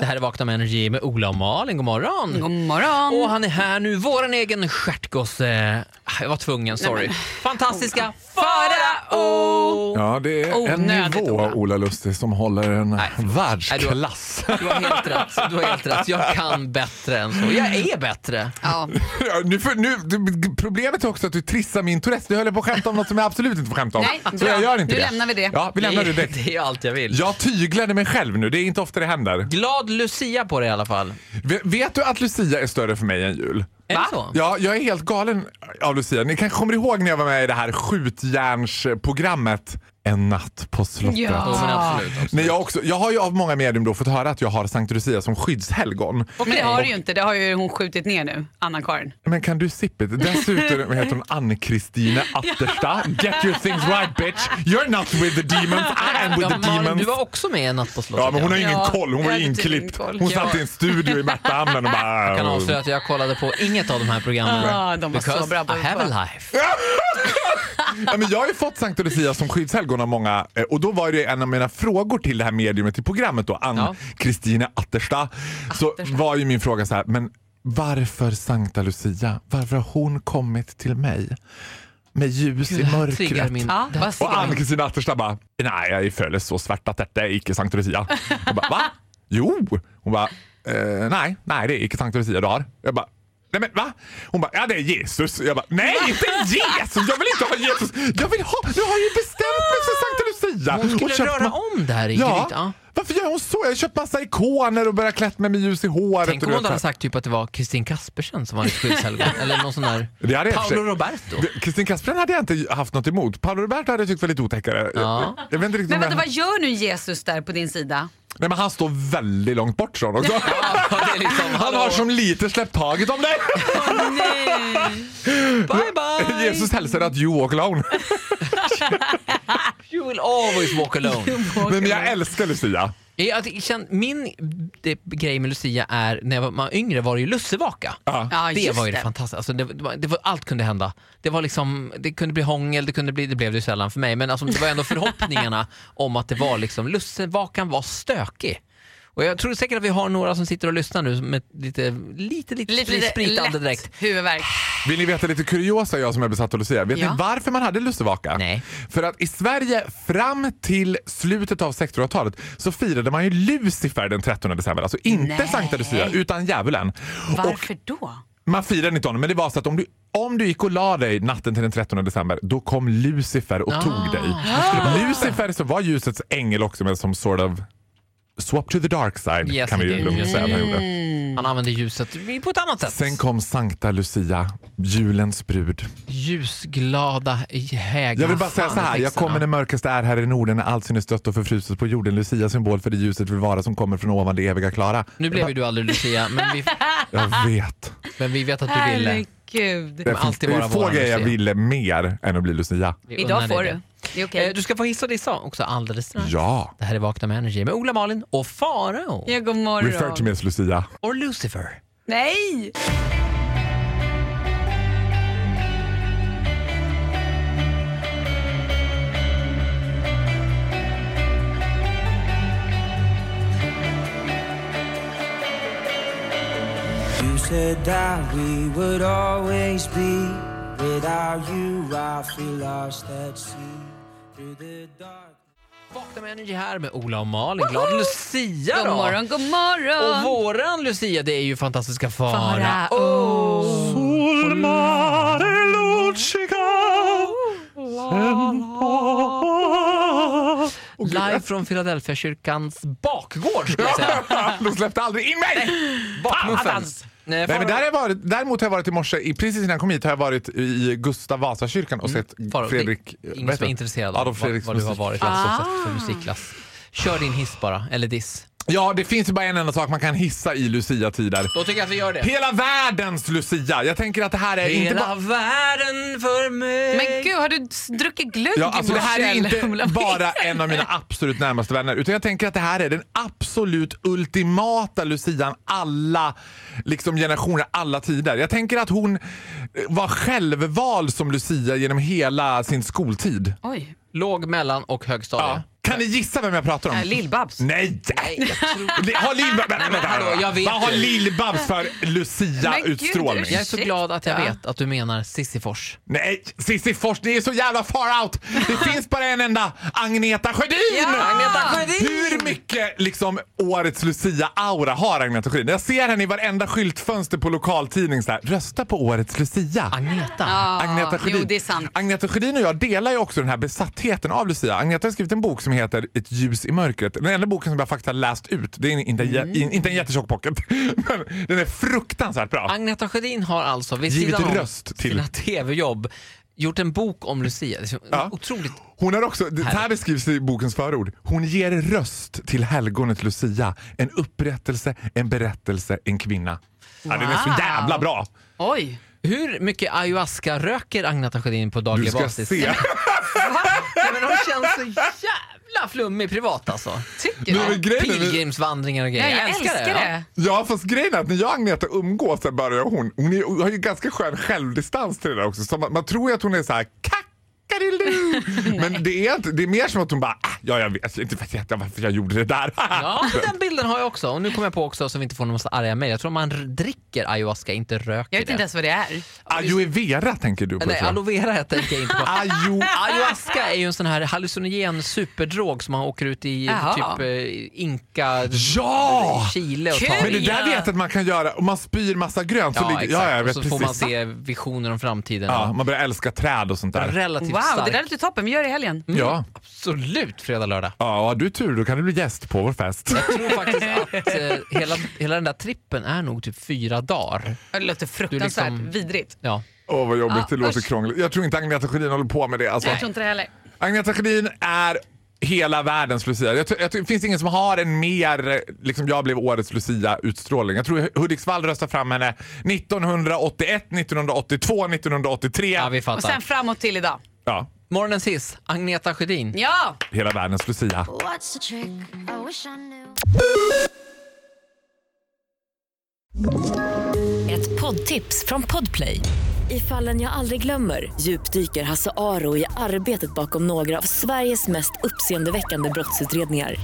Det här är Vakna med Energy med Ola och Malin. God morgon! God morgon! Och han är här nu, våran egen stjärtgosse. Jag var tvungen, sorry. Fantastiska Farao! Ja, det är en Onödigt, nivå, Ola. Ola. Lustig, som håller en Nej, du, har, världsklass. du har helt rätt. Du har helt rätt. Jag kan bättre än så. Jag är bättre. Ja, Ja, nu, för, nu, du, problemet är också att du trissar min Tourettes. Du höll på att skämta om något som jag absolut inte får skämta om. Nej, så bra. jag gör inte Nu det. lämnar vi det. Ja, vi lämnar det det, direkt. det är ju allt jag vill. Jag tyglade mig själv nu, det är inte ofta det händer. Glad Lucia på dig i alla fall. Ve- Vet du att Lucia är större för mig än jul? Är det så? Ja, jag är helt galen av Lucia. Ni kanske kommer ihåg när jag var med i det här skjutjärnsprogrammet En natt på slottet. Ja. Jo, men absolut. När jag, också, jag har ju av många medium då fått höra att jag har Sankt Lucia som skyddshelgon. men det har du ju inte. Det har ju hon skjutit ner nu, Anna-Karin. Men kan du sippet? Dessutom heter hon Ann-Kristine Atterstad. Get your things right bitch! You're not with the demons, I am with Ja, the Malin, du demons. var också med i Natt på slottet. Ja, men hon har ja. ingen Ja, koll, hon var jag ju hade tydligen inklippt. koll. Hon Ja. satt i en studio i Märtahamnen och bara... Jag kan avslöja att jag kollade på inget av de här programmen. Ja, Ah, de var så because bra på I have det. a life. Ja, men jag har ju fått Sankt Lucia som skyddshelgon av många eh, och då var det en av mina frågor till det här mediumet i programmet då, Ja. Ann-Kristine Atterstad, så var ju min fråga så här, men varför Sankta Lucia? Varför har hon kommit till mig? Med ljus Gud, det i här triggar mörkret. min- Ja. det här Och triggar min- Ann-Kristin Atterstad bara, nej jag är föle så svart att detta är icke Sankt Lucia. Jag bara, va? Jo! Hon bara, eh, nej, nej det är icke Sankt Lucia du har. Jag bara, nej men va? Hon bara, ja det är Jesus. Jag bara, nej inte Jesus! Jag vill inte ha Jesus! Jag vill ha, nu har jag ju bestämt mig för Sankt Lucia. Hon skulle köpt röra ma- om det här Ingrid. Ja. Ja. Varför gör hon så? Jag har köpt massa ikoner och börjat klätt mig med ljus i håret. Tänk och om du hon vet så hade här. sagt typ att det var Kristin Kaspersen som var hennes skyddshelgon. Eller någon sån där Det hade jag i och för Paolo sig- Roberto. Det- Kristin Kasperen hade jag inte haft något emot. Paolo Roberto hade jag tyckt var lite otäckare. Ja. Jag vet inte riktigt Men om jag- vänta, vad gör nu Jesus där på din sida? Nej men han står väldigt långt bort från också. Ja, det är liksom, Han hallå. har som lite släppt taget om dig. Bye bye! Jesus hälsar att you walk alone. You will always walk alone. Nej, men jag älskar Lucia. Jag, Eh, jag, känn- min det, grej med Lucia är, när jag var, man var yngre var det ju lussevaka. Ja. Ja, det just var ju det, det. fantastiska. Alltså det, det var, det var, allt kunde hända. Det, var liksom, det kunde bli hångel, det, kunde bli, det blev det ju sällan för mig, men alltså, det var ändå förhoppningarna om att det var liksom, lussevakan var stökig. Och jag tror säkert att vi har några som sitter och lyssnar nu med lite, lite, lite, lite spritande direkt. huvudvärk. Vill ni veta lite kuriosa jag som är besatt av Lucia? Vet Ja. ni varför man hade lussevaka? Nej. För att i Sverige fram till slutet av 1600-talet så firade man ju Lucifer den 13 december. Alltså inte Nej. Sankta Lucia utan djävulen. Och Varför då? Man firade inte honom, men det var så att om du, om du gick och la dig natten till den 13 december, då kom Lucifer och Ah. tog dig. Lucifer som var ljusets ängel också, men som sort of swap to the dark side Yes, Mm. kan vi det- ju lugnt yes, säga att han gjorde. Han använde ljuset på ett annat sätt. Sen kom Sankta Lucia, julens brud. Ljusglada hägrar. Jag vill bara säga så här, jag kommer när mörkaste är här i Norden, när allt synes dött och förfruset på jorden. Lucia symbol för det ljuset vill vara som kommer från ovan det eviga klara. Nu blev ju du aldrig Lucia, men vi, Jag vet. men vi vet att du ville. Herregud. Det kommer finns alltid vara få våran grejer jag Lucia. ville mer än att bli Lucia. Vi unnar Idag dig får det. du. Det är okej. Eh, Du ska få hissa och dissa också alldeles strax. Ja, Det här är Vakna med Energy med Ola Malin och Farao. Ja, god refer to morgon. me as Lucia. Or Lucifer. Nej! You said that we would always be. Without you, I feel lost at sea. Through the dark. Vakna med Energy här med Ola och Malin. Glad Lucia God då! morgon, god Och morgon! våran Lucia det är ju fantastiska Farao. Farao. oh. Live från Philadelphia kyrkans bakgård skulle jag säga. De släppte aldrig in mig! Bakmuffen. attans. Nej, Nej, men Farao- där har jag varit, däremot har jag varit i morse, i- precis innan jag kom hit, har jag varit i Gustav Vasakyrkan och sett Mm. Farao, Fredrik... det är vad ingen heter som är han? intresserad av Adolf vad, Fredriks vad du har musik. varit alltså, för musikklass. Kör din hiss bara, eller diss. Ja, det finns ju bara en enda sak man kan hissa i Lucia-tider. Då tycker jag att vi gör det. Hela världens Lucia! Jag tänker att det här är inte bara... Hela världen för mig. Men gud, har du s- druckit glögg Ja, i alltså det här är morse, eller? inte bara en av mina absolut närmaste vänner utan jag tänker att det här är den absolut ultimata lucian alla liksom generationer, alla tider. Jag tänker att hon eh, var självvald som lucia genom hela sin skoltid. Oj, Låg, mellan och högstadie. Ja. Kan ni gissa vem jag pratar om? äh, Lill-Babs. Nej! Li- Har Lill-Babs... Vänta, vänta, hallå, jag vet Vad har ju. Lill-Babs för Men gud, lucia-utstrålning? ursäkta. Jag är så glad att jag Ursäkta. vet att du menar Sissifors. Nej, Cissi Fors, ni är så jävla far out! Det finns bara en enda, Agneta Sjödin! Ja! Agneta Sjödin! Hur mycket liksom årets Lucia-aura har Agneta Sjödin? Jag ser henne i varenda skyltfönster på lokaltidning så här, rösta på årets Lucia. Agneta. Agneta Sjödin. jo, det är sant. Agneta Sjödin och jag delar ju också den här besattheten av Lucia. Agneta har skrivit en bok som heter Ett ljus i mörkret. Den enda boken som jag faktiskt har läst ut. Det är inte, en jä- Mm. in- inte en jättetjock pocket, men den är fruktansvärt bra. Agneta Sjödin har alltså vid Givit sidan om röst till- sina tv-jobb gjort en bok om Lucia. Det är så Ja. Otroligt. Hon har också, det här beskrivs i bokens förord. Hon ger röst till helgonet Lucia. En upprättelse, en berättelse, en kvinna. Ja, den är så Wow. jävla bra! Oj. Hur mycket ayahuasca röker Agneta Sjödin på daglig Du ska basis? se. Nej, men hon känns så jävla flummig privat alltså. Tycker Nu är du? grejen, är- Pilgrimsvandringar och Ja, grejer. jag älskar det. ja, fast grejen är att när jag och Agneta umgås så börjar hon. Hon är, har ju ganska skön självdistans till det där också. Så man, man tror ju att hon är så här kackadilu. Men det är, inte, det är mer som att hon bara, "Ah, ja jag vet inte vet jag varför jag gjorde det där. Ja, men den bilden har jag också. Och nu kommer jag på också, så vi inte får någon massa arga mejl. Jag tror man r- dricker ayahuasca, inte röker Jag vet inte det. ens vad det är. Aloe vera tänker du på. Nej, tror jag. aloe vera tänker jag inte på. Ajo- Ayahuasca är ju en sån här hallucinogen superdrog som man åker ut i Jaha. typ eh, Inka, Ja! Chile och Kul! tar. Men det där Ja. vet jag att man kan göra. Om man spyr massa grönt så Ja, ligger... exakt. Ja, jag och vet så precis. får man se visioner om framtiden. Ja, Ja. man börjar älska träd och sånt där. Relativt Wow, det stark. Mm. där låter toppen. Vi gör det i helgen. Ja. Absolut fredag, lördag. Ja, och har du tur då kan du bli gäst på vår fest. Jag tror faktiskt att eh, hela, hela den där trippen är nog typ fyra dagar. Det låter fruktansvärt liksom- vidrigt. Ja. Åh vad jobbigt, Ja, det låter usch. krångligt. Jag tror inte Agneta Sjödin håller på med det. Alltså. Jag tror inte det heller. Agneta Sjödin är hela världens Lucia. Jag, tror- jag, tror- det finns ingen som har en mer, eh, liksom jag blev årets Lucia-utstrålning. Jag tror Hudiksvall röstade fram henne 1981, 1982, 1983. ja, vi Och fattar. sen framåt till idag. Ja, Morgonens hiss, Agneta Sjödin. Ja! hela världens Lucia. What's the trick? I wish I knew. Ett poddtips från Podplay. I fallen jag aldrig glömmer djupdyker Hasse Aro i arbetet bakom några av Sveriges mest uppseendeväckande brottsutredningar.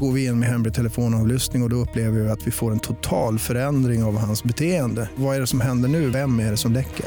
Går vi in med hemlig telefonavlyssning och, och då upplever vi att vi får en total förändring av hans beteende. Vad är det som händer nu? Vem är det som läcker?